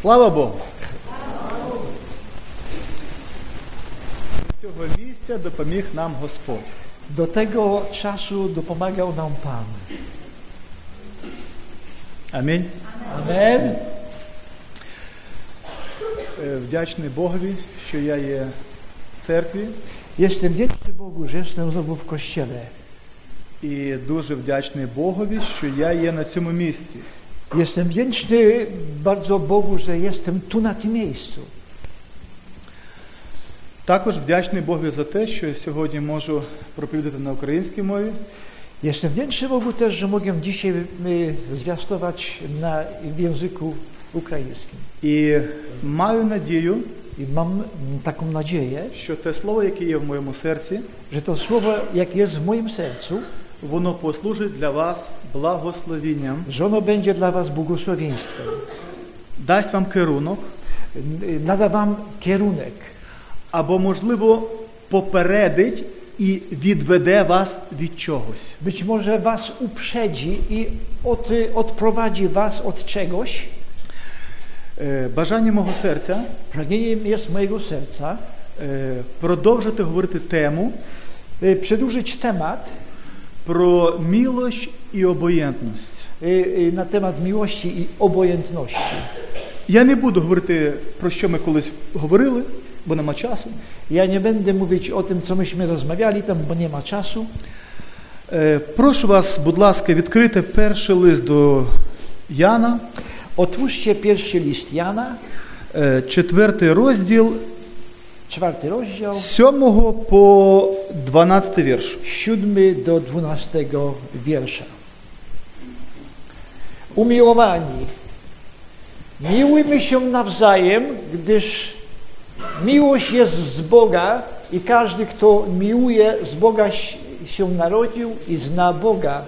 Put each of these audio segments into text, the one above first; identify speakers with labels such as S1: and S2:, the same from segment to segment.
S1: Слава Богу! Цього місця допоміг нам Господь.
S2: Do tego czasu dopomagał nam Pan.
S1: Амінь.
S2: Amen.
S1: Е, Вдячний Богові, що я є в церкві,
S2: Jestem wdzięczny Bogu, że jestem znowu w kościele.
S1: і дуже вдячний Богові, що я є на цьому місці.
S2: Jestem wdzięczny bardzo Bogu, że jestem tu na tym miejscu.
S1: Також вдячний Богові за те, що сьогодні можу проповідати на українській мові.
S2: Jestem wdzięczny Bogu też, że mogę dzisiaj y, zwiastować na, w języku ukraińskim.
S1: І маю надію,
S2: I mam mm, taką nadzieję,
S1: що те слово, яке є в моєму серці,
S2: że to słowo, jak jest w moim sercu,
S1: воно послужить для вас благословінням,
S2: że ono będzie dla Was błogosławieństwem.
S1: дасть вам керунок,
S2: Y, Nada Wam kierunek,
S1: або, можливо, попередить і відведе вас від czогось.
S2: być może Was uprzedzi i od, odprowadzi Was od czegoś.
S1: Е, Бажання мого серця
S2: Pragnieniem jest mojego serca
S1: е, продовжити говорити тему
S2: y, przedłużyć temat
S1: про мілощ і обоєнтність.
S2: y, y, na temat miłości i obojętności.
S1: Я не буду говорити про що ми колись говорили, бо нема часу.
S2: Ja nie będę mówić o tym, co myśmy rozmawiali tam, bo nie ma czasu.
S1: Е, Прошу вас, будь ласка, відкрити перший лист до Яна,
S2: Otwórzcie pierwszy list Jana,
S1: е, четвертий розділ
S2: czwarty rozdział,
S1: з 7 по 12 вірш.
S2: siódmy do dwunastego wiersza. Umiłowani, miłujmy się nawzajem, gdyż miłość jest z Boga i każdy, kto miłuje, z Boga ś- się narodził i zna Boga.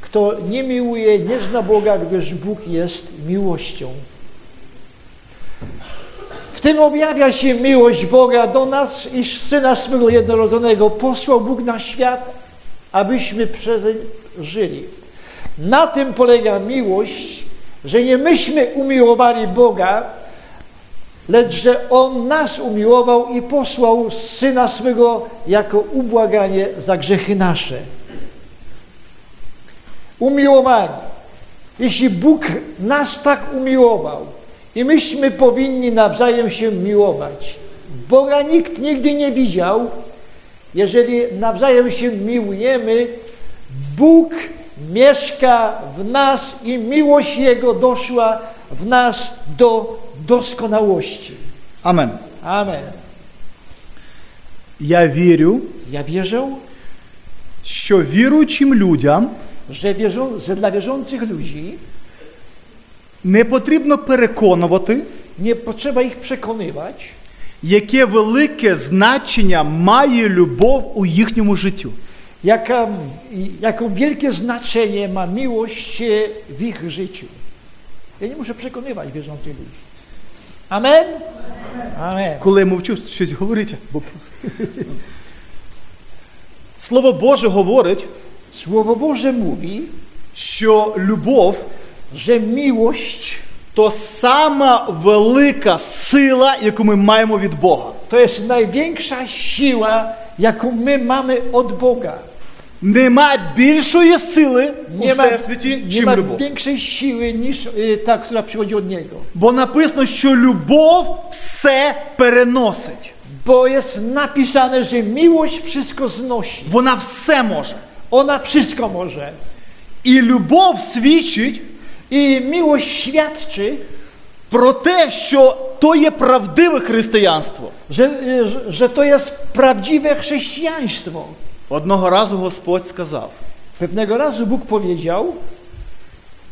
S2: Kto nie miłuje, nie zna Boga, gdyż Bóg jest miłością. W tym objawia się miłość Boga do nas, iż Syna swego jednorodzonego posłał Bóg na świat, abyśmy przezeń żyli. Na tym polega miłość, że nie myśmy umiłowali Boga, lecz że On nas umiłował i posłał Syna swego jako ubłaganie za grzechy nasze. Umiłowani, jeśli Bóg nas tak umiłował i myśmy powinni nawzajem się miłować. Boga nikt nigdy nie widział. Jeżeli nawzajem się miłujemy, Bóg mieszka w nas i miłość Jego doszła w nas do doskonałości.
S1: Амен.
S2: Amen.
S1: Я вірю,
S2: Ja wierzę,
S1: що віруючим людям
S2: że, wierzą, że dla wierzących ludzi
S1: не потрібно переконувати,
S2: nie potrzeba ich przekonywać,
S1: яке велике значення має любов у їхньому жиttю.
S2: jaka, jaką wielkie znaczenie ma miłość e, w ich życiu. Ja nie muszę przekonywać wierzących ludzi. Amen? Amen.
S1: Коли я мовчу, щось говорить. Бо... Слово Боже говорить,
S2: Słowo Boże mówi,
S1: що любов
S2: że miłość
S1: то сама велика сила, яку ми маємо від Бога.
S2: to jest największa siła, jaką my mamy od Boga.
S1: Нема більшої сили у
S2: Nie ma,
S1: всесвіті,
S2: nie
S1: чим
S2: ma
S1: любов.
S2: większej siły niż y, ta, która przychodzi od Niego.
S1: Бо написано, що любов все переносить.
S2: Bo jest napisane, że miłość wszystko znosi.
S1: Вона все може.
S2: Ona wszystko może.
S1: І любов свідчить
S2: I miłość świadczy,
S1: про те, що то є правдиве християнство.
S2: że, y, że- że to jest prawdziwe chrześcijaństwo.
S1: Одного разу Господь сказав:
S2: Pewnego razu Bóg powiedział,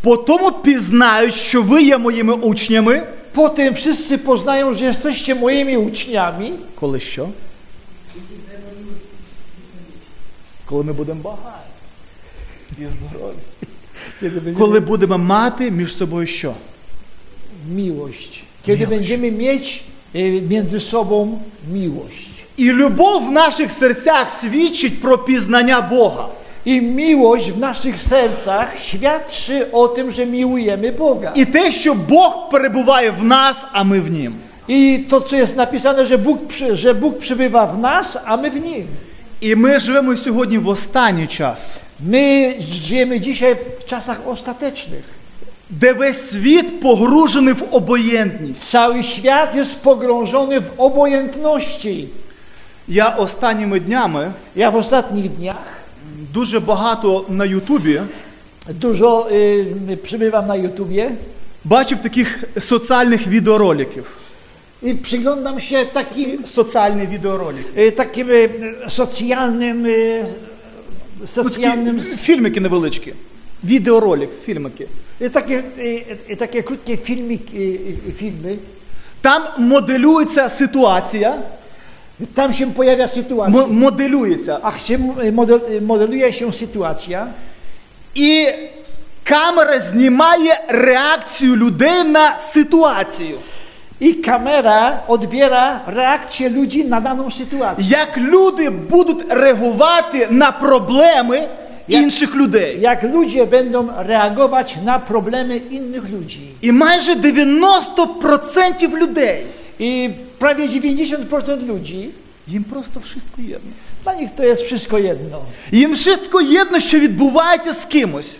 S1: по тому пізнають, що ви є моїми учнями.
S2: potem wszyscy poznają, że jesteście moimi uczniami,
S1: Коли що? Коли ми будемо багаті і здорові.
S2: kiedy będziemy
S1: Коли будемо мати між собою що?
S2: miłość, kiedy
S1: Miłość.
S2: będziemy mieć y, między sobą miłość.
S1: І любов в наших серцях свідчить про пізнання Бога.
S2: I miłość w naszych sercach świadczy o tym, że miłujemy Boga. I,
S1: І те, що Бог перебуває в нас, а ми в Нім.
S2: to, co jest napisane, że Bóg, przy- że Bóg przybywa w nas, a my w Nim.
S1: І ми живемо сьогодні в останній час,
S2: My żyjemy dzisiaj w czasach ostatecznych.
S1: де весь світ погружений в обоєнтність.
S2: Cały świat jest pogrążony w obojętności.
S1: Я останніми dniami
S2: Ja w ostatnich dniach
S1: дуже багато на Ютубі
S2: dużo y, przybywam na YouTubie
S1: бачив таких соціальних відеороликів.
S2: i przyglądam się takim
S1: Соціальні відеоролики.
S2: Y, takim y, socjalnym, y, socjalnym,
S1: Ну, Такі фільмики невеличкі. Відеоролик, фільмики.
S2: y, takie, y, y, takie krótkie filmiki, y, y, filmy.
S1: Там моделюється ситуація,
S2: Tam się pojawia sytuacja,
S1: м- моделюється.
S2: ach, się y, model, y, modeluje się sytuacja
S1: І камера знімає реакцію людей на ситуацію.
S2: i kamera odbiera reakcję ludzi na daną sytuację.
S1: Як люди будуть реагувати на проблеми
S2: Як-
S1: інших людей.
S2: Jak ludzie będą reagować na problemy innych ludzi.
S1: І майже 90% людей
S2: I prawie 90% ludzi,
S1: їм просто wszystko єдно.
S2: dla nich to jest wszystko jedno.
S1: Їм wszystko єдно, що відбувається з кимось.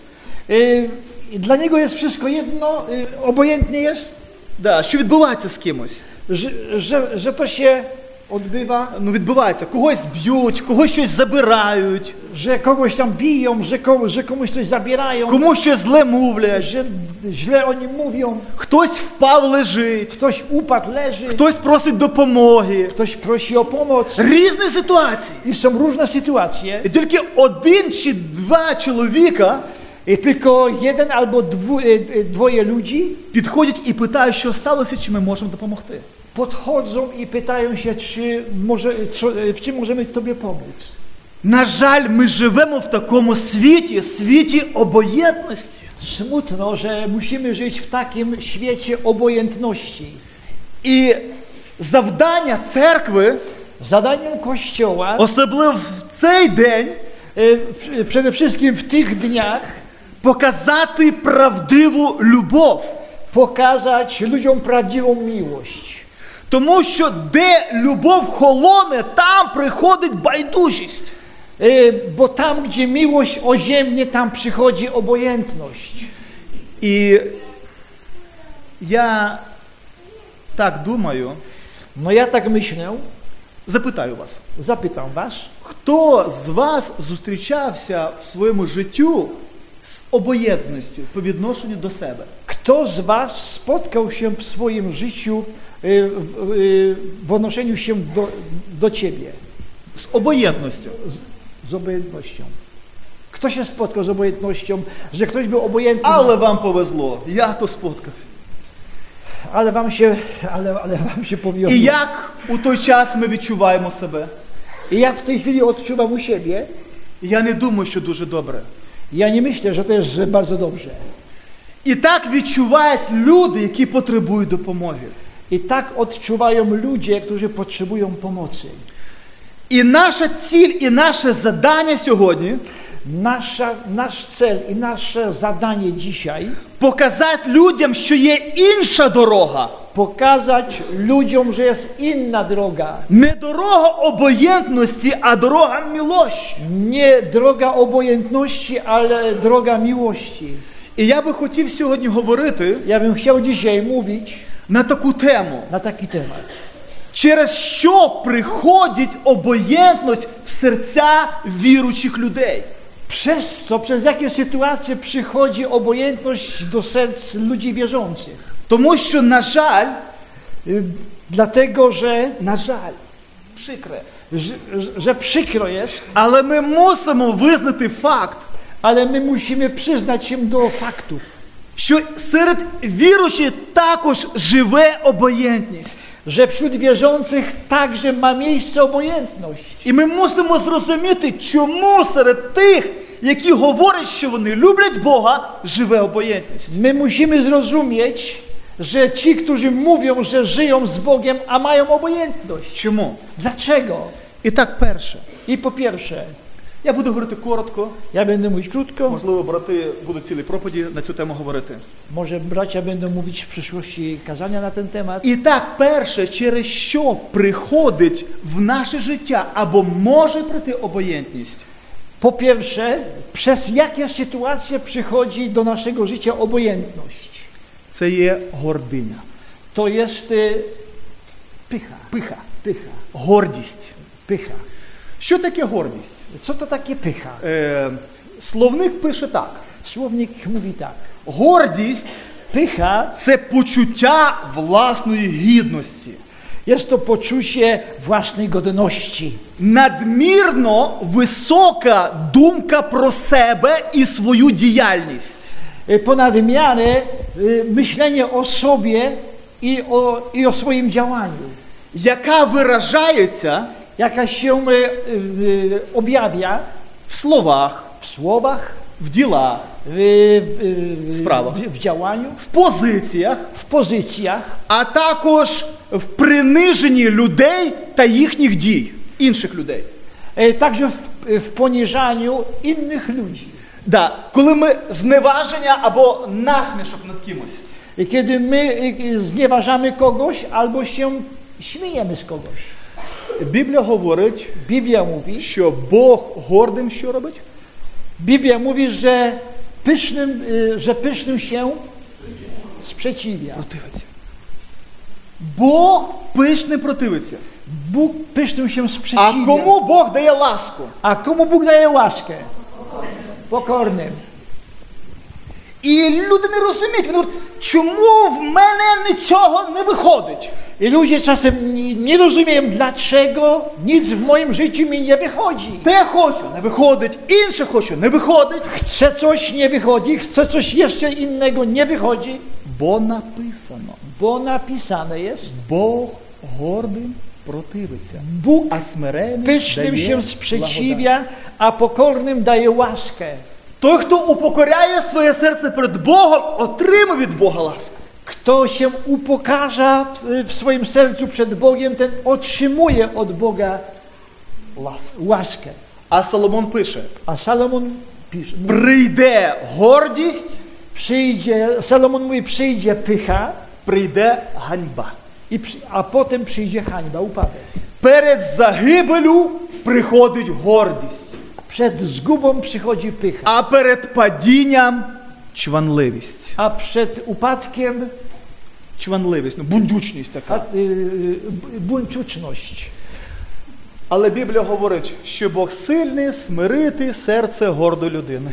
S2: Y, Dla niego jest wszystko jedno, y, obojętnie jest,
S1: Да, що відбувається з кимось.
S2: że, że, że to się odbywa,
S1: Ну, відбувається, когось б'ють, когось щось забирають,
S2: że kogoś tam biją, że, ko, że komuś coś zabierają,
S1: комусь щось зле мовлять,
S2: że źle o nim mówią,
S1: хтось впав лежить,
S2: ktoś upadł, leży,
S1: хтось просить допомоги.
S2: ktoś prosi o pomoc
S1: Різні ситуації.
S2: i są różne sytuacje.
S1: І тільки один чи два чоловіка
S2: I tylko jeden albo dwu, y, y, dwoje ludzi
S1: підходять і питають, що сталося, чи ми можемо допомогти.
S2: podchodzą i pytają się, czy może, czy, w czym możemy Tobie pomóc.
S1: На жаль, ми живемо в такому світі, світі обоєдності.
S2: Smutno, że musimy żyć w takim świecie obojętności.
S1: І завдання церкви,
S2: Zadaniem Kościoła
S1: особливо в цей день,
S2: E, przy- Przede wszystkim w tych dniach
S1: показати правдиву любов.
S2: pokazać ludziom prawdziwą miłość.
S1: Тому що де любов холоне, там приходить байдужість.
S2: E, Bo tam, gdzie miłość oziemnie, tam przychodzi obojętność.
S1: І я так думаю,
S2: No ja tak myślę,
S1: запитаю вас,
S2: zapytam was,
S1: хто з вас зустрічався в своєму життю з обоєдністю по відношенню до себе?
S2: kto z was spotkał się w swoim życiu e, w, e, w odnoszeniu się do, do ciebie
S1: З обоєдністю.
S2: z obojętnością? Kto się spotkał z obojętnością, że ktoś był obojętny,
S1: Але вам повезло, я то споткався.
S2: ale wam się, ale, ale wam się powiodło.
S1: І як у той час ми відчуваємо себе?
S2: I ja w tej chwili odczuwam u siebie,
S1: Я не думаю, що дуже добре.
S2: Ja nie myślę, że to jest że bardzo dobrze.
S1: І так відчувають люди, які потребують допомоги.
S2: I tak odczuwają ludzie, którzy potrzebują pomocy.
S1: І наша ціль, і наше задання сьогодні
S2: Nasza, nasz cel i nasze zadanie dzisiaj
S1: показати людям, що є інша дорога,
S2: pokazać ludziom, że jest inna droga.
S1: не дорога обоєнтності, а дорога мілощі.
S2: Nie droga obojętności, ale droga miłości.
S1: І я би хотів сьогодні говорити
S2: Ja bym chciał dzisiaj mówić
S1: на таку тему,
S2: na taki temat.
S1: через що приходить обоєнтність в серця віруючих людей.
S2: Przez co, przez jakie sytuacje przychodzi obojętność do serc ludzi wierzących?
S1: Тому що, на жаль,
S2: Y, Dlatego, że,
S1: на жаль, прикре.
S2: że, że przykro jest,
S1: Але ми мусимо визнати факт,
S2: Ale my musimy przyznać się do faktów,
S1: що серед віруючих також живе обоєнтність.
S2: że wśród wierzących także ma miejsce obojętność.
S1: І ми мусимо зрозуміти, чому серед тих, які говорять, що вони люблять Бога, живе обоєдність.
S2: My musimy zrozumieć, że ci, którzy mówią, że żyją z Bogiem, a mają obojętność.
S1: Чому?
S2: Dlaczego?
S1: І так, перше,
S2: I po pierwsze,
S1: Я буду говорити коротко,
S2: Ja będę mówić krótko,
S1: можливо, брати будуть цілі проповіді на цю тему говорити.
S2: może bracia będą mówić w przyszłości kazania na ten temat.
S1: І так, перше, через що приходить в наше життя або може прийти обоєнтність,
S2: Po pierwsze, przez jakie sytuacje przychodzi do naszego życia obojętność?
S1: це є гординя,
S2: To jest y, pycha,
S1: пиха,
S2: pycha,
S1: гордість.
S2: pycha.
S1: Що таке гордість?
S2: Co to takie pycha?
S1: Е, словник пише так:
S2: Słownik mówi tak.
S1: гордість
S2: Pycha
S1: це почуття власної гідності.
S2: jest to poczucie własnej godności.
S1: Надмірно висока думка про себе і свою діяльність.
S2: Y, Ponad miarę y, myślenie o sobie i o, i o swoim działaniu.
S1: яка виражається
S2: Jaka się y, y, objawia
S1: в словах,
S2: w słowach,
S1: в ділах,
S2: w, w, y,
S1: Sprawach.
S2: w, w działaniu,
S1: в позиціях,
S2: w pozycjach,
S1: а також в приниженні людей та їхніх дій, інших людей.
S2: y, także w, w poniżaniu innych ludzi.
S1: Да, коли ми зневаження або насмішок над кимось.
S2: I Kiedy my y, znieważamy kogoś albo się śmiejemy z kogoś.
S1: Біблія говорить,
S2: Biblia mówi,
S1: що Бог гордим що робить?
S2: Biblia mówi, że pysznym, y, że pysznym się sprzeciwia.
S1: Противиться. Бог пишне противиться.
S2: Bóg pysznym się
S1: А
S2: sprzeciwia.
S1: кому Бог дає ласку?
S2: A komu Bóg daje łaskę? Pokornym.
S3: І люди не розуміють, вони говорять, чому в мене нічого не виходить.
S2: I ludzie czasem nie- nie rozumieją, dlaczego nic w moim życiu mi nie wychodzi.
S1: Те хочу, не виходить, інше хочу, не виходить.
S2: Chcę coś, nie wychodzi, chcę coś jeszcze innego, nie wychodzi,
S1: Бо написано.
S2: bo napisane jest.
S1: Бог гордим противиться,
S2: Bóg
S1: а смиреним
S2: pysznym
S1: дає
S2: się sprzeciwia, a pokornym daje łaskę.
S3: Той, хто упокоряє своє серце перед Богом, отримує від Бога ласку.
S2: Kto się upokarza w- w swoim sercu przed Bogiem, ten otrzymuje od Boga
S1: ласку.
S2: łaskę.
S1: А Соломон пише:
S2: A Salomon pisze, mówi,
S1: прийде гордість,
S2: przyjdzie, Salomon mówi, przyjdzie pycha,
S1: прийде ганьба.
S2: i przy, a potem przyjdzie hańba, upadek.
S1: Перед загибелю приходить гордість,
S2: Przed zgubą przychodzi pycha,
S1: а перед падінням чванливість.
S2: a przed upadkiem
S1: Чванливість, ну бундючність
S2: a,
S1: така.
S2: y, y, b- buńczuczność.
S1: Але Біблія говорить, що Бог сильний смирити серце гордої людини.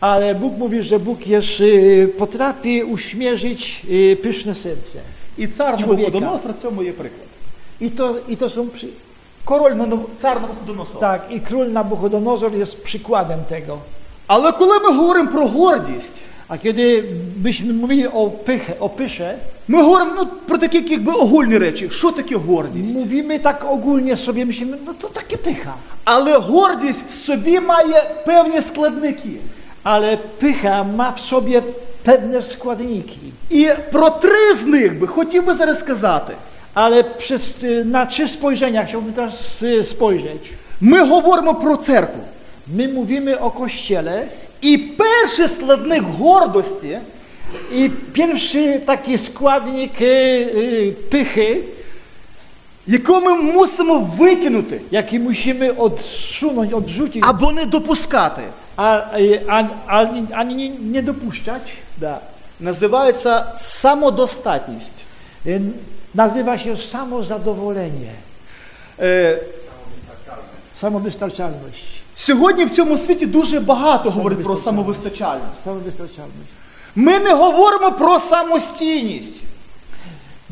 S2: Ale Bóg mówi, że Bóg jest, y, potrafi uśmierzyć y, pyszne serce.
S1: І цар
S2: Чоловіка.
S1: Новоходоносор в цьому є приклад.
S2: I to, i to są przy,
S1: Король Ноно- цар Новоходоносор.
S2: Tak, i król Nabuchodonozor jest przykładem tego.
S1: Але коли ми говоримо про гордість,
S2: A kiedy byśmy mówili o pychę, o pysze,
S1: ми говоримо ну, про такі якби огульні речі. Що таке гордість?
S2: mówimy tak ogólnie sobie, myślimy, no to takie pycha.
S1: Але гордість в собі має певні складники.
S2: Ale pycha ma w sobie pewne składniki.
S1: І про три з них би хотів би зараз сказати.
S2: Ale przez, y, na trzy spojrzenia chciałbym teraz y, spojrzeć.
S1: Ми говоримо про церкву.
S2: My mówimy o Kościele
S1: І перший складник гордості
S2: i pierwszy taki składnik y, y, pychy,
S1: яку ми мусимо викинути
S2: jaki musimy odsunąć, odrzucić,
S1: або не допускати,
S2: a, y, ani- ani- ani nie- nie dopuszczać,
S1: да. називається самодостатність.
S2: Y, Nazywa się samozadowolenie,
S1: Е,
S2: samowystarczalność.
S1: сьогодні в цьому світі дуже багато говорить про
S2: Самовистачальність.
S1: самовистачальність.
S2: Samowystarczalność.
S1: Ми не говоримо про самостійність.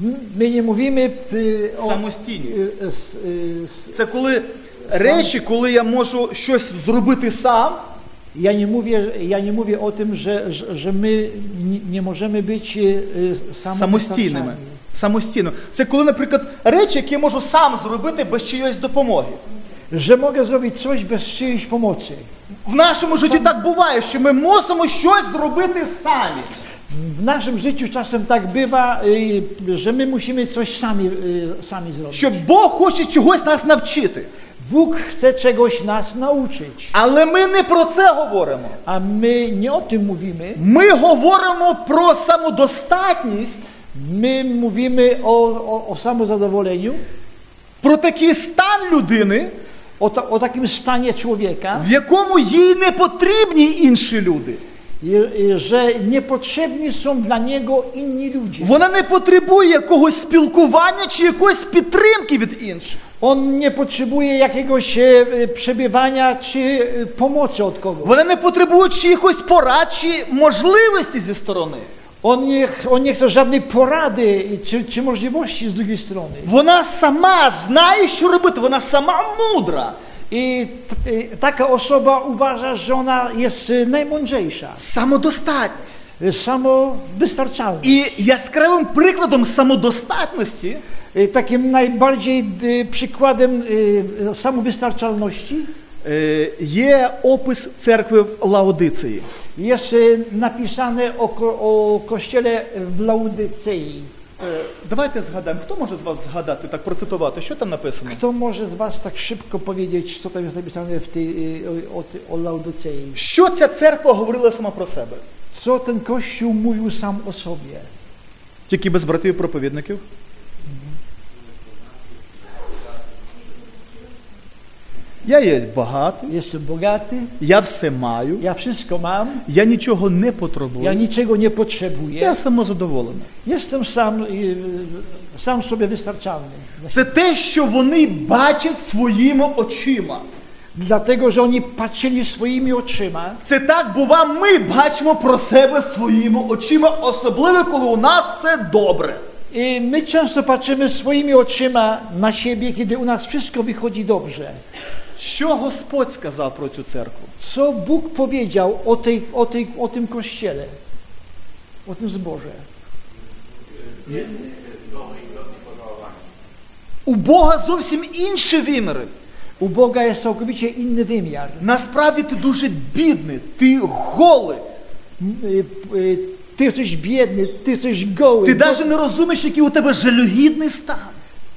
S2: M- My nie mówimy y, o.
S1: Самостійність.
S2: y, s- y, s-
S1: Це коли речі, коли я можу щось зробити сам,
S2: Ja nie mówię, ja nie mówię o tym, że, że, że my nie, nie możemy być y, y,
S1: самостійними.
S2: samowystarczalni.
S1: Самостійно. Це коли, наприклад, речі, які я можу сам зробити без чиєїсь допомоги.
S2: Że mogę zrobić coś bez czyjejś pomocy.
S1: В нашому житті так буває, що ми мусимо щось зробити самі.
S2: W naszym życiu czasem tak bywa, y, że my musimy coś sami, y, sami zrobić.
S1: Що Бог хоче чогось нас навчити.
S2: Bóg chce czegoś nas nauczyć,
S1: Але ми не про це говоримо.
S2: a my nie o tym mówimy.
S1: Ми говоримо про самодостатність,
S2: My mówimy o, o, o samozadowoleniu,
S1: про такий stан людини,
S2: o, ta, o takim stanie człowieka,
S1: в якому їй не потрібні інші люди.
S2: i, i, że niepotrzebni są dla niego inni ludzie.
S1: Вона не потребує якогось спілкування чи якоїсь підтримки від інших.
S2: On nie potrzebuje jakiegoś e, e, przebywania czy e, pomocy od kogoś.
S1: Вона не потребує чиїхось порад чи можливості зі сторони.
S2: On nie, ch- on nie chce żadnej porady czy, czy możliwości z drugiej strony.
S1: Вона сама знає, що робити, вона сама mądra.
S2: I t, e, taka osoba uważa, że ona jest e, najmądrzejsza,
S1: Самодостатність.
S2: e, samowystarczalna.
S1: І яскравим прикладом самодостатності
S2: E, Takim najbardziej e, przykładem e, e, samowystarczalności
S1: е, є опис церкви в Лаодицеї.
S2: jest e, napisane o, ko, o kościele w Laudycei.
S1: Е, Давайте згадаємо, хто може з вас згадати, так процитувати, що там написано?
S2: Kto może z Was tak szybko powiedzieć, co tam jest napisane w tej, e, o, o, ty- o Laudycei?
S1: Що ця церква говорила сама про себе?
S2: Co ten kościół mówił sam o sobie?
S1: Тільки без братів проповідників. Я є багатий,
S2: Jestem bogaty,
S1: я все маю,
S2: ja wszystko mam,
S1: я нічого не
S2: ja
S1: потребую,
S2: niczego nie
S1: я
S2: potrzebuję.
S1: самозадоволений.
S2: Jestem sam, e, sam sobie wystarczalny.
S1: Це те, що вони бачать своїми очима.
S2: Dlatego, że oni patrzyli swoimi oczyma.
S1: Це так, бува, ми бачимо про себе своїми очима, особливо коли у нас все добре.
S2: I my często patrzymy swoimi oczyma na siebie, kiedy u nas wszystko wychodzi dobrze.
S1: Що Господь сказав про цю церкву?
S2: Co Bóg powiedział o, tej, o, tej, o tym kościele, o tym zborze?
S1: У Бога зовсім інші виміри.
S2: U Boga jest całkowicie inny wymiar.
S1: Насправді ти дуже бідний, ти голий.
S2: M- y, y, Ty jesteś biedny, ty jesteś goły.
S1: Ти навіть не розумієш, який у тебе жалюгідний stан.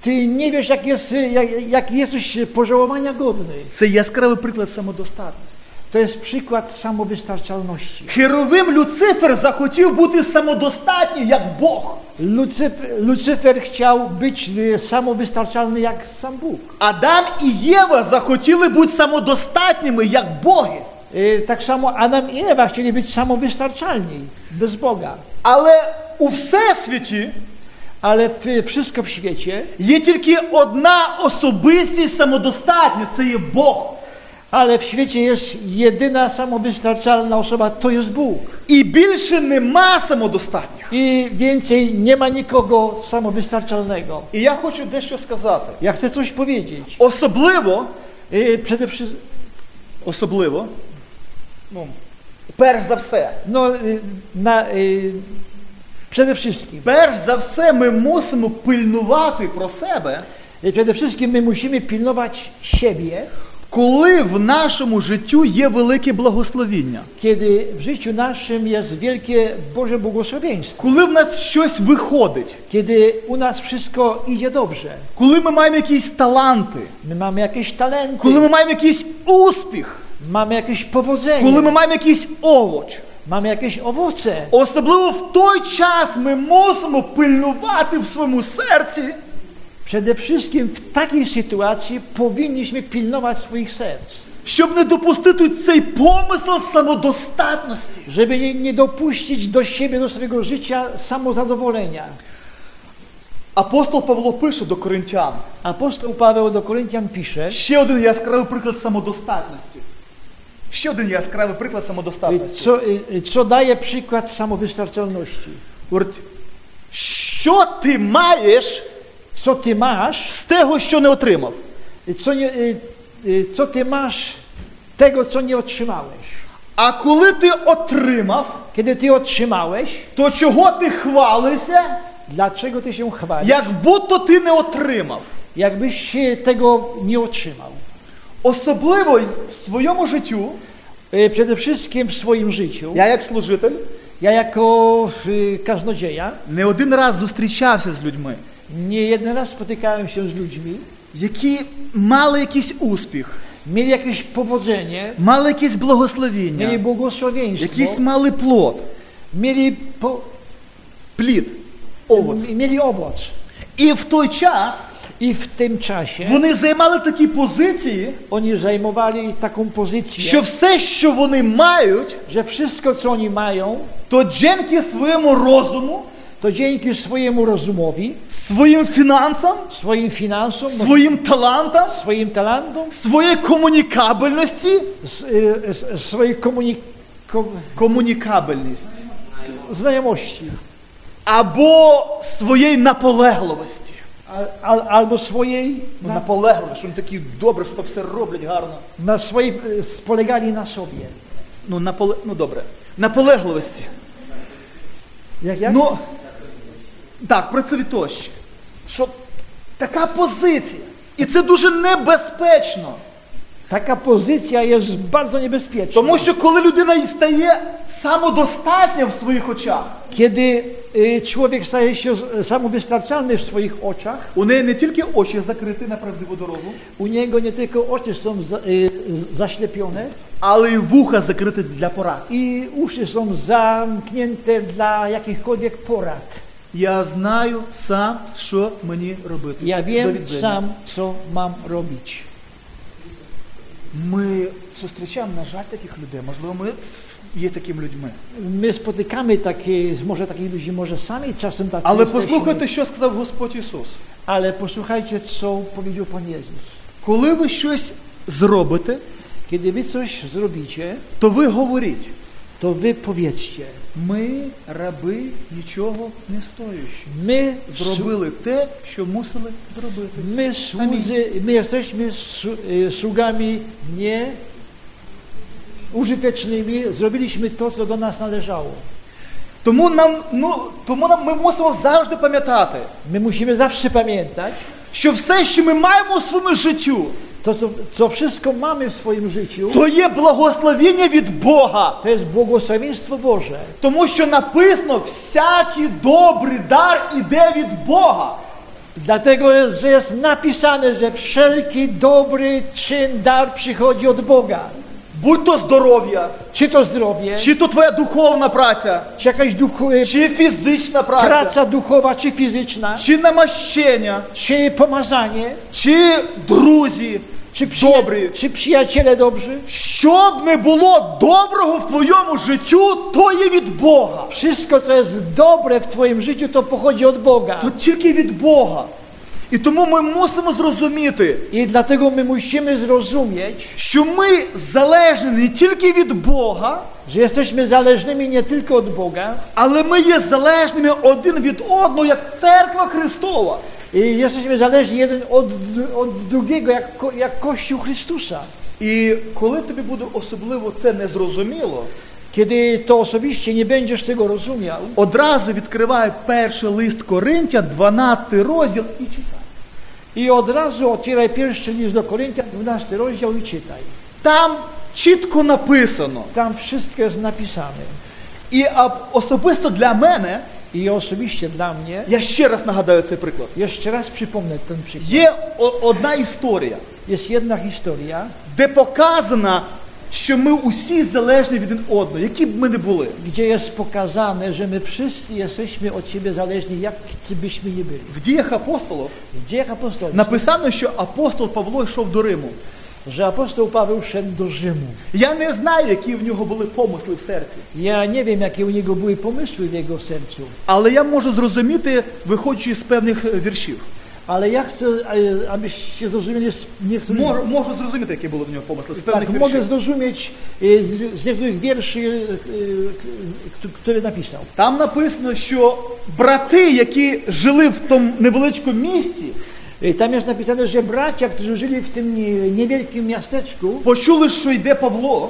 S2: Ty nie wiesz, jak, jest, y, jak, jak jesteś pożałowania godny.
S1: Це яскравий приклад самодостатності.
S2: To jest przykład samowystarczalności.
S1: Херовим Люцифер захотів бути самодостатнім, як Бог.
S2: Lucyfer, Lucyfer chciał być y, samowystarczalny jak sam Bóg.
S1: Адам і Єва захотіли бути samodostатніми, як боги.
S2: Y, Tak samo Adam i Ewa chcieli być samowystarczalni, bez Boga.
S1: Але у всесвіті
S2: Ale w- wszystko w świecie,
S1: є тільки одна особистість самодостатня це є Бог.
S2: ale w świecie jest jedyna samowystarczalna osoba, to jest Bóg.
S1: І bільше нема самодостатніх.
S2: I więcej nie ma nikogo samowystarczalnego.
S1: І я хочу дещо сказати.
S2: Ja chcę coś powiedzieć.
S1: Особливо,
S2: Y, Przede wszystkim,
S1: особливо, ну, перш за все,
S2: no, y, na, y, przede wszystkim,
S1: перш за все, ми мусимо пильнувати про себе,
S2: y, przede wszystkim my musimy pilnować siebie,
S1: коли в нашому життю є велике благословіння,
S2: kiedy w życiu naszym jest wielkie Boże błogosławieństwo,
S1: коли в нас щось виходить,
S2: kiedy u nas wszystko idzie dobrze,
S1: коли ми маємо якісь таланти,
S2: my mamy jakieś talenty,
S1: коли ми маємо якийсь успіх,
S2: mamy jakieś powodzenie,
S1: коли ми маємо якийсь овоч.
S2: mamy jakieś owoce.
S1: Особливо в той час ми мусимо пильнувати в своєму серці,
S2: Przede wszystkim w takiej sytuacji powinniśmy pilnować swoich serc,
S1: щоб не допустити цей помисел самодостатності.
S2: żeby nie, nie dopuścić do siebie, do swojego życia samozadowolenia.
S1: Апостол Павло пише до коринтян
S2: Apostoł Paweł do Koryntian pisze,
S1: ще один яскравий приклад самодостатності. Ще один яскравий приклад самодостатності.
S2: co, co daje przykład samowystarczalności.
S1: Говорить, що ти маєш
S2: Co ty masz,
S1: з того, що не отримав?
S2: co, nie, y, y, co ty masz tego, co nie otrzymałeś.
S1: А коли ти отримав,
S2: Kiedy ty otrzymałeś,
S1: то чого ти хвалишся,
S2: dlaczego ty się chwalisz?
S1: як будто ти не отримав?
S2: Jakbyś się tego nie otrzymał.
S1: Особливо в своєму життю,
S2: Y, Przede wszystkim w swoim życiu.
S1: я як служитель,
S2: Ja jako y, kaznodzieja
S1: не один раз зустрічався з людьми,
S2: nie jeden raz spotykałem się z ludźmi,
S1: які мали якийсь успіх,
S2: mieli jakieś powodzenie,
S1: мали якесь
S2: mieli
S1: благословіння,
S2: błogosławieństwo,
S1: якийсь мали плод,
S2: mieli, po,
S1: плід, овоц.
S2: mieli owoc.
S1: І в той час
S2: I w tym czasie
S1: вони займали такі позиції,
S2: oni zajmowali taką pozycję,
S1: що все, що вони мають,
S2: że wszystko, co oni mają,
S1: то Дженкі своєму розуму,
S2: to dzięki swojemu rozumowi,
S1: своїм фінансам,
S2: swoim finansom,
S1: своїм талантам,
S2: swoim talentom,
S1: своїй комунікабельності.
S2: z, y, z, swojej komunik- kom-
S1: Комунікабельність.
S2: znajomości
S1: Або своєї наполегливості.
S2: al, al, albo swojej,
S1: Ну,
S2: na,
S1: наполегливо, що вони такі добре, що то все роблять гарно.
S2: na swojej y, spolegali na sobie.
S1: Ну, наполе... ну добре. Наполегливості.
S2: Jak, jak?
S1: Ну, так, працьовитощі. Що така позиція. І це дуже небезпечно.
S2: Taka pozycja jest bardzo niebezpieczna.
S1: Тому що коли людина стає самодостатня в своїх очах,
S2: Kiedy y, człowiek staje się z- samowystarczalny w swoich oczach,
S1: у неї не тільки очі закриті на правдиву дорогу,
S2: u niego nie tylko oczy są za, y, z- zaślepione
S1: але й вуха закриті для порад.
S2: i uszy są zamknięte dla jakichkolwiek porad.
S1: Я знаю сам, що мені робити.
S2: Ja
S1: До
S2: wiem
S1: відзення.
S2: sam, co mam robić.
S1: Ми зустрічаємо, на жаль, таких людей. Можливо, ми ф- є такими людьми.
S2: My spotykamy takie, może takich ludzi, może sami czasem tacy
S1: Але
S2: jesteśmy.
S1: послухайте, що сказав Господь Ісус.
S2: Ale posłuchajcie, co powiedział Pan Jezus.
S1: Коли ви щось зробите,
S2: Kiedy wy coś zrobicie,
S1: то ви говоріть,
S2: to wy powiedzcie,
S1: ми раби нічого не стоючі.
S2: my zrobimy.
S1: Зробили те, що мусили зробити.
S2: My, słudzy, my jesteśmy su- y, sługami nie użytecznymi, zrobiliśmy to, co do nas należało.
S1: Тому нам, ну, тому нам ми мусимо завжди пам'ятати,
S2: My musimy zawsze pamiętać,
S1: що все, що ми маємо у своєму життю,
S2: to co, co wszystko mamy w swoim życiu,
S1: то є благословіння від Бога.
S2: to jest błogosławieństwo Boże.
S1: Тому що написано, всякий добрий дар іде від Бога.
S2: Dlatego jest, że jest napisane, że wszelki dobry czyn, dar przychodzi od Boga.
S1: Будь то здоров'я,
S2: Czy to zdrowie, czy,
S1: чи то твоя духовна праця,
S2: jakaś duchu, y,
S1: чи фізична праця,
S2: praca duchowa, czy fizyczna,
S1: чи намащення,
S2: czy pomazanie,
S1: чи друзі,
S2: czy,
S1: Dobry.
S2: przyja- czy przyjaciele dobrzy.
S1: що б не було доброго в твоєму життю, то є від Бога.
S2: Wszystko, co jest dobre w Twoim życiu, to pochodzi od Boga.
S1: То тільки від Бога. І тому ми мусимо зрозуміти,
S2: I dlatego my musimy zrozumieć,
S1: що ми залежні не тільки від Бога,
S2: że jesteśmy zależnymi nie tylko od Boga,
S1: але ми є залежними один від одного, як церква Христова.
S2: i jesteśmy zależni jeden od, od drugiego, jak, ko- jak Kościół Chrystusa.
S1: І коли тобі буде особливо це незрозуміло,
S2: Kiedy to osobiście nie będziesz tego rozumiał,
S1: одразу відкривай перший лист Коринтя, 12 розділ і читай.
S2: i od razu otwieraj pierwszy list do Koryntian, 12 rozdział i czytaj.
S1: Там чітко написано.
S2: Tam wszystko jest napisane.
S1: І а, особисто для мене,
S2: I osobiście dla mnie,
S1: я ще раз nagадаю цей приклад.
S2: jeszcze raz przypomnę ten przykład,
S1: Є о- одна історія,
S2: jest jedna historia,
S1: де показано, що ми усі залежні від одного, які б ми не були.
S2: gdzie jest pokazane, że my wszyscy jesteśmy od Ciebie zależni, jak ci byśmy nie byli.
S1: В діях апостолів
S2: W dziejach apostolskich,
S1: написано, що апостол Павло йшов до Риму.
S2: że apostoł Paweł szedł do Rzymu.
S1: Я не знаю, які в нього були помисли в серці,
S2: Ja nie wiem, jakie u niego były pomysły w jego sercu,
S1: але я можу зрозуміти, wиходячи з певних е, віршів.
S2: ale ja chcę, e, abyście zrozumieli z niektórych...
S1: Можу, можу зрозуміти, які були в нього помисли з певних
S2: tak, mogę
S1: віршів.
S2: zrozumieć e, z, z niektórych wierszy, e, e, k- e, które napisał.
S1: Там написано, що брати, які жили в тому невеличкому місті,
S2: E, Tam jest napisane, że bracia, którzy żyli w tym nie- niewielkim miasteczku,
S1: почули, що йде Павло,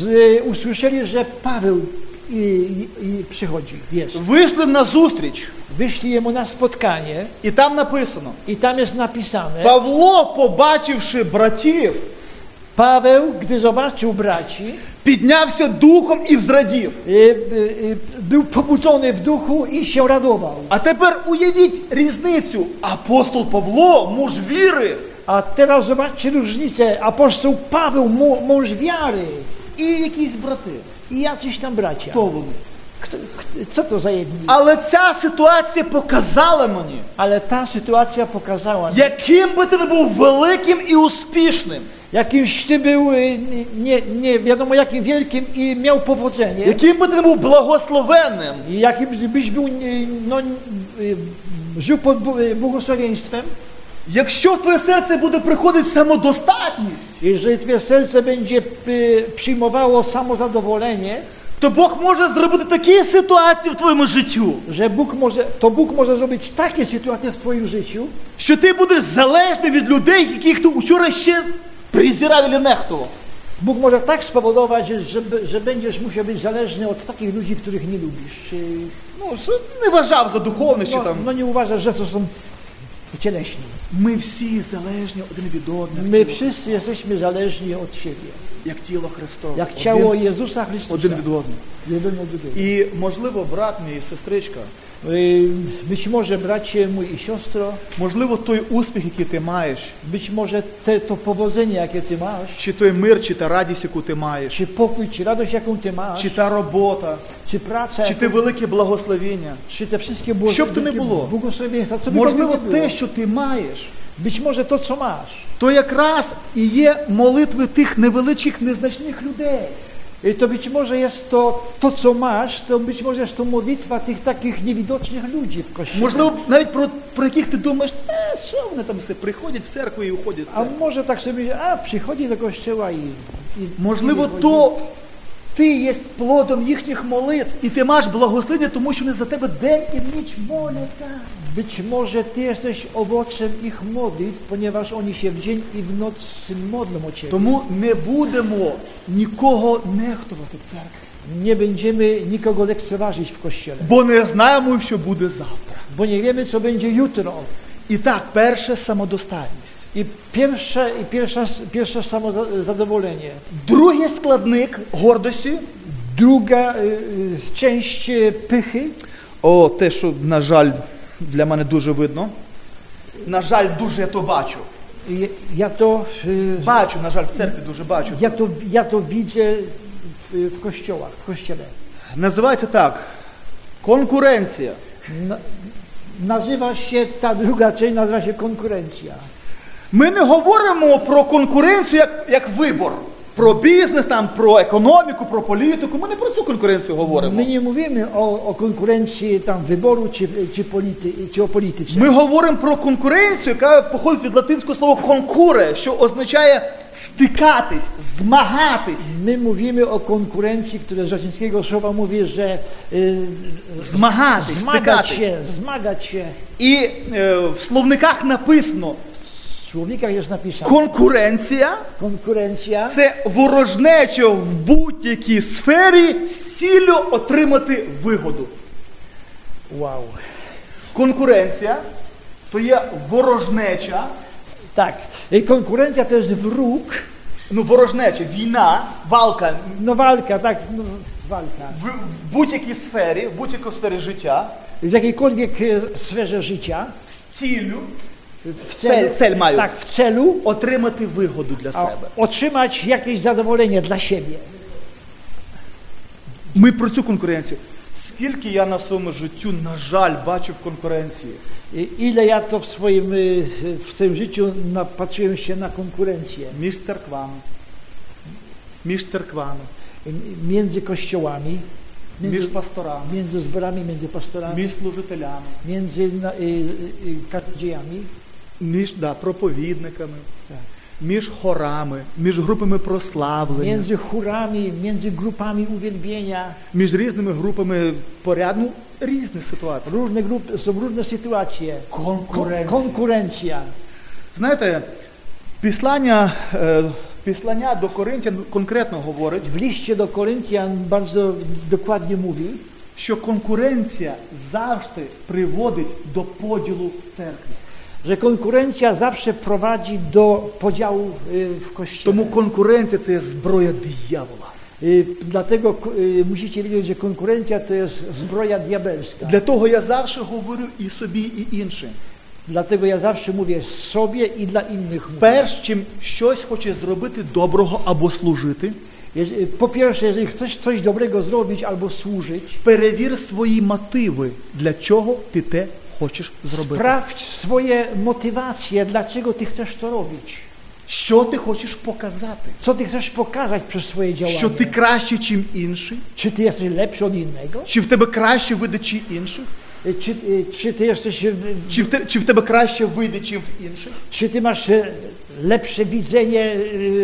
S2: z, e, usłyszeli, że Paweł i, i, i przychodzi, jest.
S1: вийшли на зустріч,
S2: Wyszli jemu na spotkanie
S1: і там написано:
S2: i tam jest napisane,
S1: Павло, побачивши братів,
S2: Paweł, gdy zobaczył braci,
S1: піднявся духом і зрадів.
S2: y, y, y, był pobudzony w duchu i się radował.
S1: А тепер уявіть різницю. Апостол Павло, муж віри,
S2: A teraz zobaczcie różnicę. Apostoł Paweł, mu- mąż wiary
S1: і якісь брати.
S2: i jacyś tam bracia.
S1: Хто вони?
S2: Kto, kto, co to za jedni?
S1: Але ця ситуація показала мені,
S2: Ale ta sytuacja pokazała, mi,
S1: яким би ти не був великим і успішним,
S2: jakimś ty był y, nie, nie wiadomo jakim wielkim i miał powodzenie.
S1: яким би ти не був благословенним,
S2: I jakim byś był, y, no, y, żył pod bu- y, błogosławieństwem,
S1: якщо в твоє серце буде приходити самодостатність,
S2: jeżeli twoje serce będzie y, przyjmowało samozadowolenie,
S1: то Бог може зробити такі ситуації в твоєму життю,
S2: że Bóg może, to Bóg może zrobić takie sytuacje w twoim życiu,
S1: що ти будеш залежний від людей, яких ти вчора ще презирав і нехтував.
S2: Bóg może tak spowodować, że, że, że będziesz musiał być zależny od takich ludzi, których nie lubisz. Czy,
S1: Ну, що не вважав за духовних чи
S2: no,
S1: там.
S2: no nie uważasz, że to są cieleśni.
S1: Ми всі залежні один від одного,
S2: My wszyscy jesteśmy zależni od siebie.
S1: як тіло Христове.
S2: Jak ciało
S1: один,
S2: Jezusa Chrystusa.
S1: один від одного.
S2: Jeden od drugiego.
S1: І можливо, брат мій, сестричка,
S2: Y, Być może bracie mój i siostro,
S1: можливо, той успіх, який ти маєш,
S2: być może te, to powodzenie, jakie ty masz,
S1: чи той мир, чи та радість, яку ти маєш,
S2: czy pokój, czy radość, jaką ty masz,
S1: чи та робота,
S2: czy praca,
S1: чи
S2: jaką,
S1: те велике благословення.
S2: czy te wszystkie
S1: Щоб то не було.
S2: błogosławieństwa, co by to
S1: Можливо,
S2: nie było.
S1: те, що ти маєш,
S2: Być może to, co masz.
S1: то якраз і є молитви тих невеличких, незначних людей.
S2: I to być może jest to, to co masz, to być może jest to modlitwa tych takich niewidocznych ludzi w kościele.
S1: Можливо, навіть про, про яких ти думаєш, е, що вони там все приходять в церкву і уходять. з
S2: A
S1: церкви».
S2: może tak sobie, myśleć, a przychodzi do kościoła i... i
S1: Можливо,
S2: i wychodzi.
S1: то ти є плодом їхніх молитв, і ти маєш благословення, тому що вони за тебе день і ніч моляться.
S2: Być może ty jesteś owocem ich modlitw, ponieważ oni się w dzień i w noc modlą o ciebie.
S1: Тому не будемо нікого нехтувати в церкві,
S2: Nie będziemy nikogo lekceważyć w kościele,
S1: бо не знаємо, що буде завтра.
S2: bo nie wiemy, co będzie jutro.
S1: І так, перше самодостатність.
S2: I pierwsze, i pierwsza, pierwsze samozadowolenie.
S1: Другий складник гордості.
S2: Druga y, y, część y, pychy.
S1: О, те, що, на жаль, для мене дуже видно. На жаль, дуже я то bачу.
S2: Ja- Ja to, y,
S1: Бачу, на жаль, в церкві дуже бачу.
S2: ja to, ja to widzę w, w kościołach, w kościele.
S1: Називається так. Конкуренція.
S2: Na, nazywa się, ta druga część nazywa się konkurencja.
S1: Ми не говоримо про конкуренцію як, як вибор. Про бізнес, там, про економіку, про політику. Ми не про цю конкуренцію говоримо.
S2: My nie mówimy o, o konkurencji tam wyboru czy, czy, polity, czy o polityce.
S1: Ми говоримо про конкуренцію, яка походить від латинського слова конкуре, що означає стикатись, змагатись.
S2: My mówimy o konkurencji, które z łacińskiego słowa mówi, że y,
S1: Змагатись,
S2: zmagać
S1: стикатись.
S2: się, zmagać się.
S1: І е, в словниках написано:
S2: W słownikach jest napisane.
S1: конкуренція
S2: Konkurencja
S1: це ворожнеча в будь-якій сфері з ціллю отримати вигоду.
S2: Wow.
S1: Конкуренція то є ворожнеча,
S2: Tak. Y, Konkurencja to jest wróg,
S1: ну ворожнеча, війна, walka
S2: no walka, tak, no, walka.
S1: в, в будь-якій сфері, в будь-якій сфері життя
S2: W jakiejkolwiek y, sferze życia.
S1: з ціллю
S2: W
S1: Cel- cel mają.
S2: Tak, w celu
S1: отримати вигоду для
S2: a,
S1: себе.
S2: otrzymać jakieś zadowolenie dla siebie.
S1: Ми про цю конкуренцію. Скільки я на своєму життю, на жаль, бачив конкуренції.
S2: Y, Ile ja to w swoim, y, y, w swoim życiu napatrzyłem się na konkurencję
S1: між церквами, між церквами,
S2: y, między kościołami,
S1: між
S2: między,
S1: пасторами,
S2: między zborami, między pastorami,
S1: між служителями,
S2: między na- y, y, y, katodziejami.
S1: між да, проповідниками,
S2: Так.
S1: між хорами, між групами прославлення,
S2: między chórami, między grupami uwielbienia.
S1: між різними групами порядку. Ну, різні ситуації.
S2: Różne grupy, są różne sytuacje.
S1: Конкуренція.
S2: konkurencja.
S1: Знаєте, післання, е, післання до Коринтян конкретно говорить,
S2: W liście do Koryntian bardzo dokładnie mówi,
S1: що конкуренція завжди приводить до поділу в церкві.
S2: że konkurencja zawsze prowadzi do podziału y, w kościele.
S1: Тому конкуренція це є зброя диявола.
S2: Y, Dlatego k- y, musicie wiedzieć, że konkurencja to jest zbroja diabelska.
S1: Для того я завжди говорю і собі, і іншим.
S2: Dlatego ja zawsze mówię sobie i dla innych. mówię.
S1: Перш чим щось хоче зробити доброго або служити,
S2: Jeżeli- Po pierwsze, jeżeli chcesz coś dobrego zrobić albo służyć,
S1: перевір свої мотиви, для чого ти те хочеш зробити.
S2: sprawdź swoje motywacje, dlaczego ty chcesz to robić.
S1: Що ти хочеш показати?
S2: Co ty chcesz pokazać przez swoje działanie?
S1: Що ти краще, чим інший?
S2: Czy ty jesteś lepszy od innego?
S1: Чи в тебе краще вийде, чи інших?
S2: Czy, y, czy ty jesteś, y,
S1: Чи в, те, чи в тебе краще вийде, чим в інших?
S2: czy ty masz e, lepsze widzenie, e,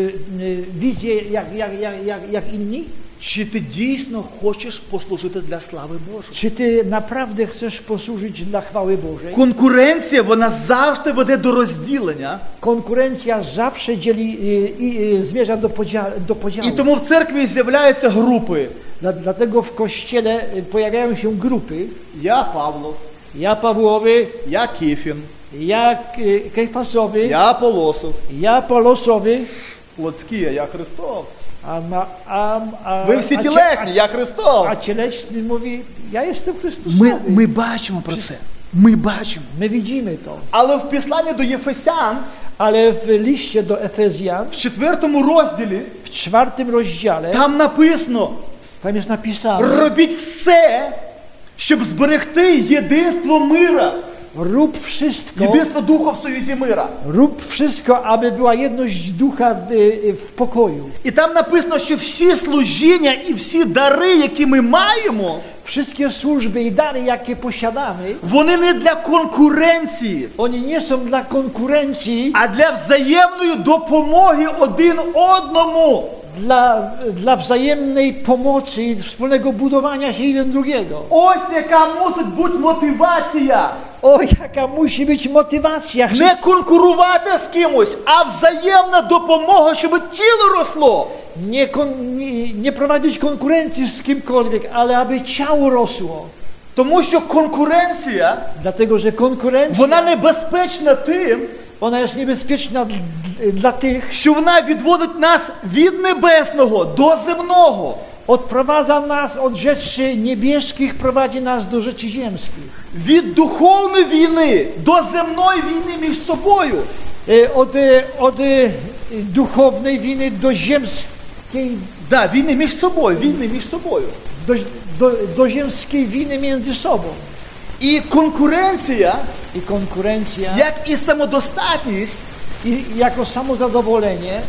S2: e, wizję jak, jak, jak, jak, jak inni?
S1: Чи ти дійсно хочеш послужити для слави Божої?
S2: Czy ty naprawdę chcesz posłużyć dla chwały Bożej?
S1: Конкуренція вона завжди веде до розділення,
S2: Konkurencja zawsze dzieli e, i e, zmierza do, podzia- do podziału.
S1: і тому в церкві з'являються групи.
S2: Dla, dlatego w kościele e, pojawiają się grupy.
S1: Я Павло,
S2: Ja Pawłowy,
S1: я Кіфін,
S2: ja e, Kejfasowy, ja,
S1: я Полосов,
S2: Polosowy,
S1: Плотський, а я Христов.
S2: a, ma, a, a,
S1: Ви всі
S2: a, cie-
S1: тілесні, я Христов.
S2: a cieleśny mówi, ja jestem Chrystusowy.
S1: Ми, ми бачимо про це. Ми бачимо.
S2: My widzimy to.
S1: Але в післанні до Єфесян
S2: Ale w liście do Efezjan,
S1: в четвертому розділі
S2: w czwartym rozdziale,
S1: там написано:
S2: tam jest napisane,
S1: робіть все, щоб зберегти єдинство мира,
S2: rób wszystko,
S1: єдинство духа в союзі мира.
S2: rób wszystko, aby była jedność ducha y, y, w pokoju.
S1: І там написано, що всі служіння і всі дари, які ми маємо,
S2: Wszystkie służby i dary, jakie posiadamy,
S1: вони не для конкуренції,
S2: one nie są dla konkurencji,
S1: а для взаємної допомоги один одному.
S2: dla, dla wzajemnej pomocy i wspólnego budowania się jeden drugiego.
S1: Ось яка мусить бути мотивація.
S2: O, jaka musi być motywacja.
S1: Не конкурувати з кимось, а взаємна допомога, щоб тіло росло.
S2: Nie, kon, nie, nie prowadzić konkurencji z kimkolwiek, ale aby ciało rosło.
S1: Тому що конкуренція
S2: Dlatego, że konkurencja,
S1: вона небезпечна тим,
S2: ona jest niebezpieczna d- d- dla tych,
S1: що вона відводить нас від небесного до земного,
S2: odprowadza nas od rzeczy niebieskich, prowadzi nas do rzeczy ziemskich.
S1: від духовної війни до земної війни між собою.
S2: E, Od, e, od e, duchownej winy do ziemskiej,
S1: Да, війни між собою, війни між собою.
S2: do, do, do ziemskiej winy między sobą.
S1: І конкуренція,
S2: I konkurencja,
S1: як і самодостатність,
S2: i jako samozadowolenie,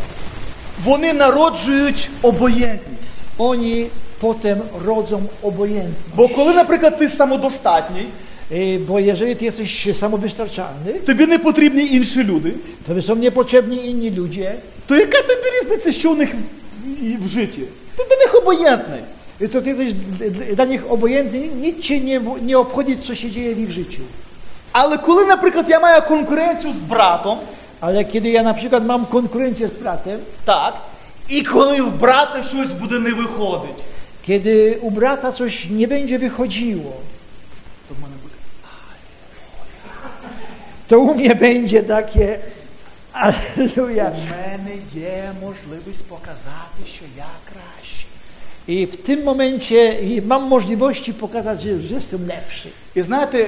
S1: вони народжують обоєнтність.
S2: oni potem rodzą obojętność.
S1: Бо коли, наприклад, ти самодостатній,
S2: E, Bo jeżeli ty jesteś samowystarczalny,
S1: тобі не потрібні інші люди,
S2: to są niepotrzebni inni ludzie,
S1: то яка тобі різниця, що у них в- і в житті? Ти до них обоєнтний.
S2: I to ty jesteś dl- dla nich obojętny, nic cię nie, nie obchodzi, co się dzieje w ich życiu.
S1: Але коли, наприклад, я маю конкуренцію з братом,
S2: Ale kiedy ja na przykład mam konkurencję z bratem,
S1: так, і коли в брата щось буде не виходить,
S2: kiedy u brata coś nie będzie wychodziło, to u mnie będzie takie Alleluja.
S1: у мене є можливість показати, що я кращий.
S2: I w tym momencie i mam możliwości pokazać, że, że jestem lepszy.
S1: І знаєте,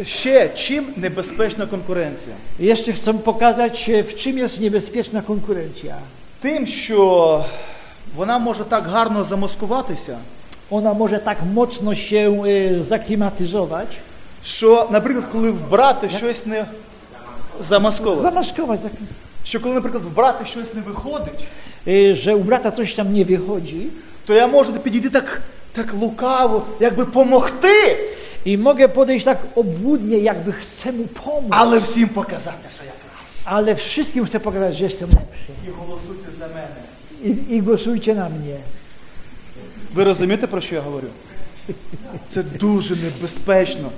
S1: е, ще чим небезпечна конкуренція?
S2: I jeszcze chcę pokazać, e, w czym jest niebezpieczna konkurencja.
S1: Тим, що вона може так гарно замаскуватися,
S2: Ona może tak mocno się e, zaklimatyzować,
S1: що, наприклад, коли в брата щось не замасковано,
S2: zamaskować, tak,
S1: що коли, наприклад, в брата щось не виходить,
S2: y, że u brata coś tam nie wychodzi
S1: то я можу підійти так, так lukavo, якби помогти,
S2: i mogę podejść tak obłudnie, jakby chcę mu pomóc,
S1: але всім показати, що я краще.
S2: ale wszystkim chcę pokazać, że jestem lepszy.
S1: І голосуйте за мене.
S2: I, i głosujcie na mnie.
S1: Ви розумієте, про що я говорю? Це дуже небезпечно.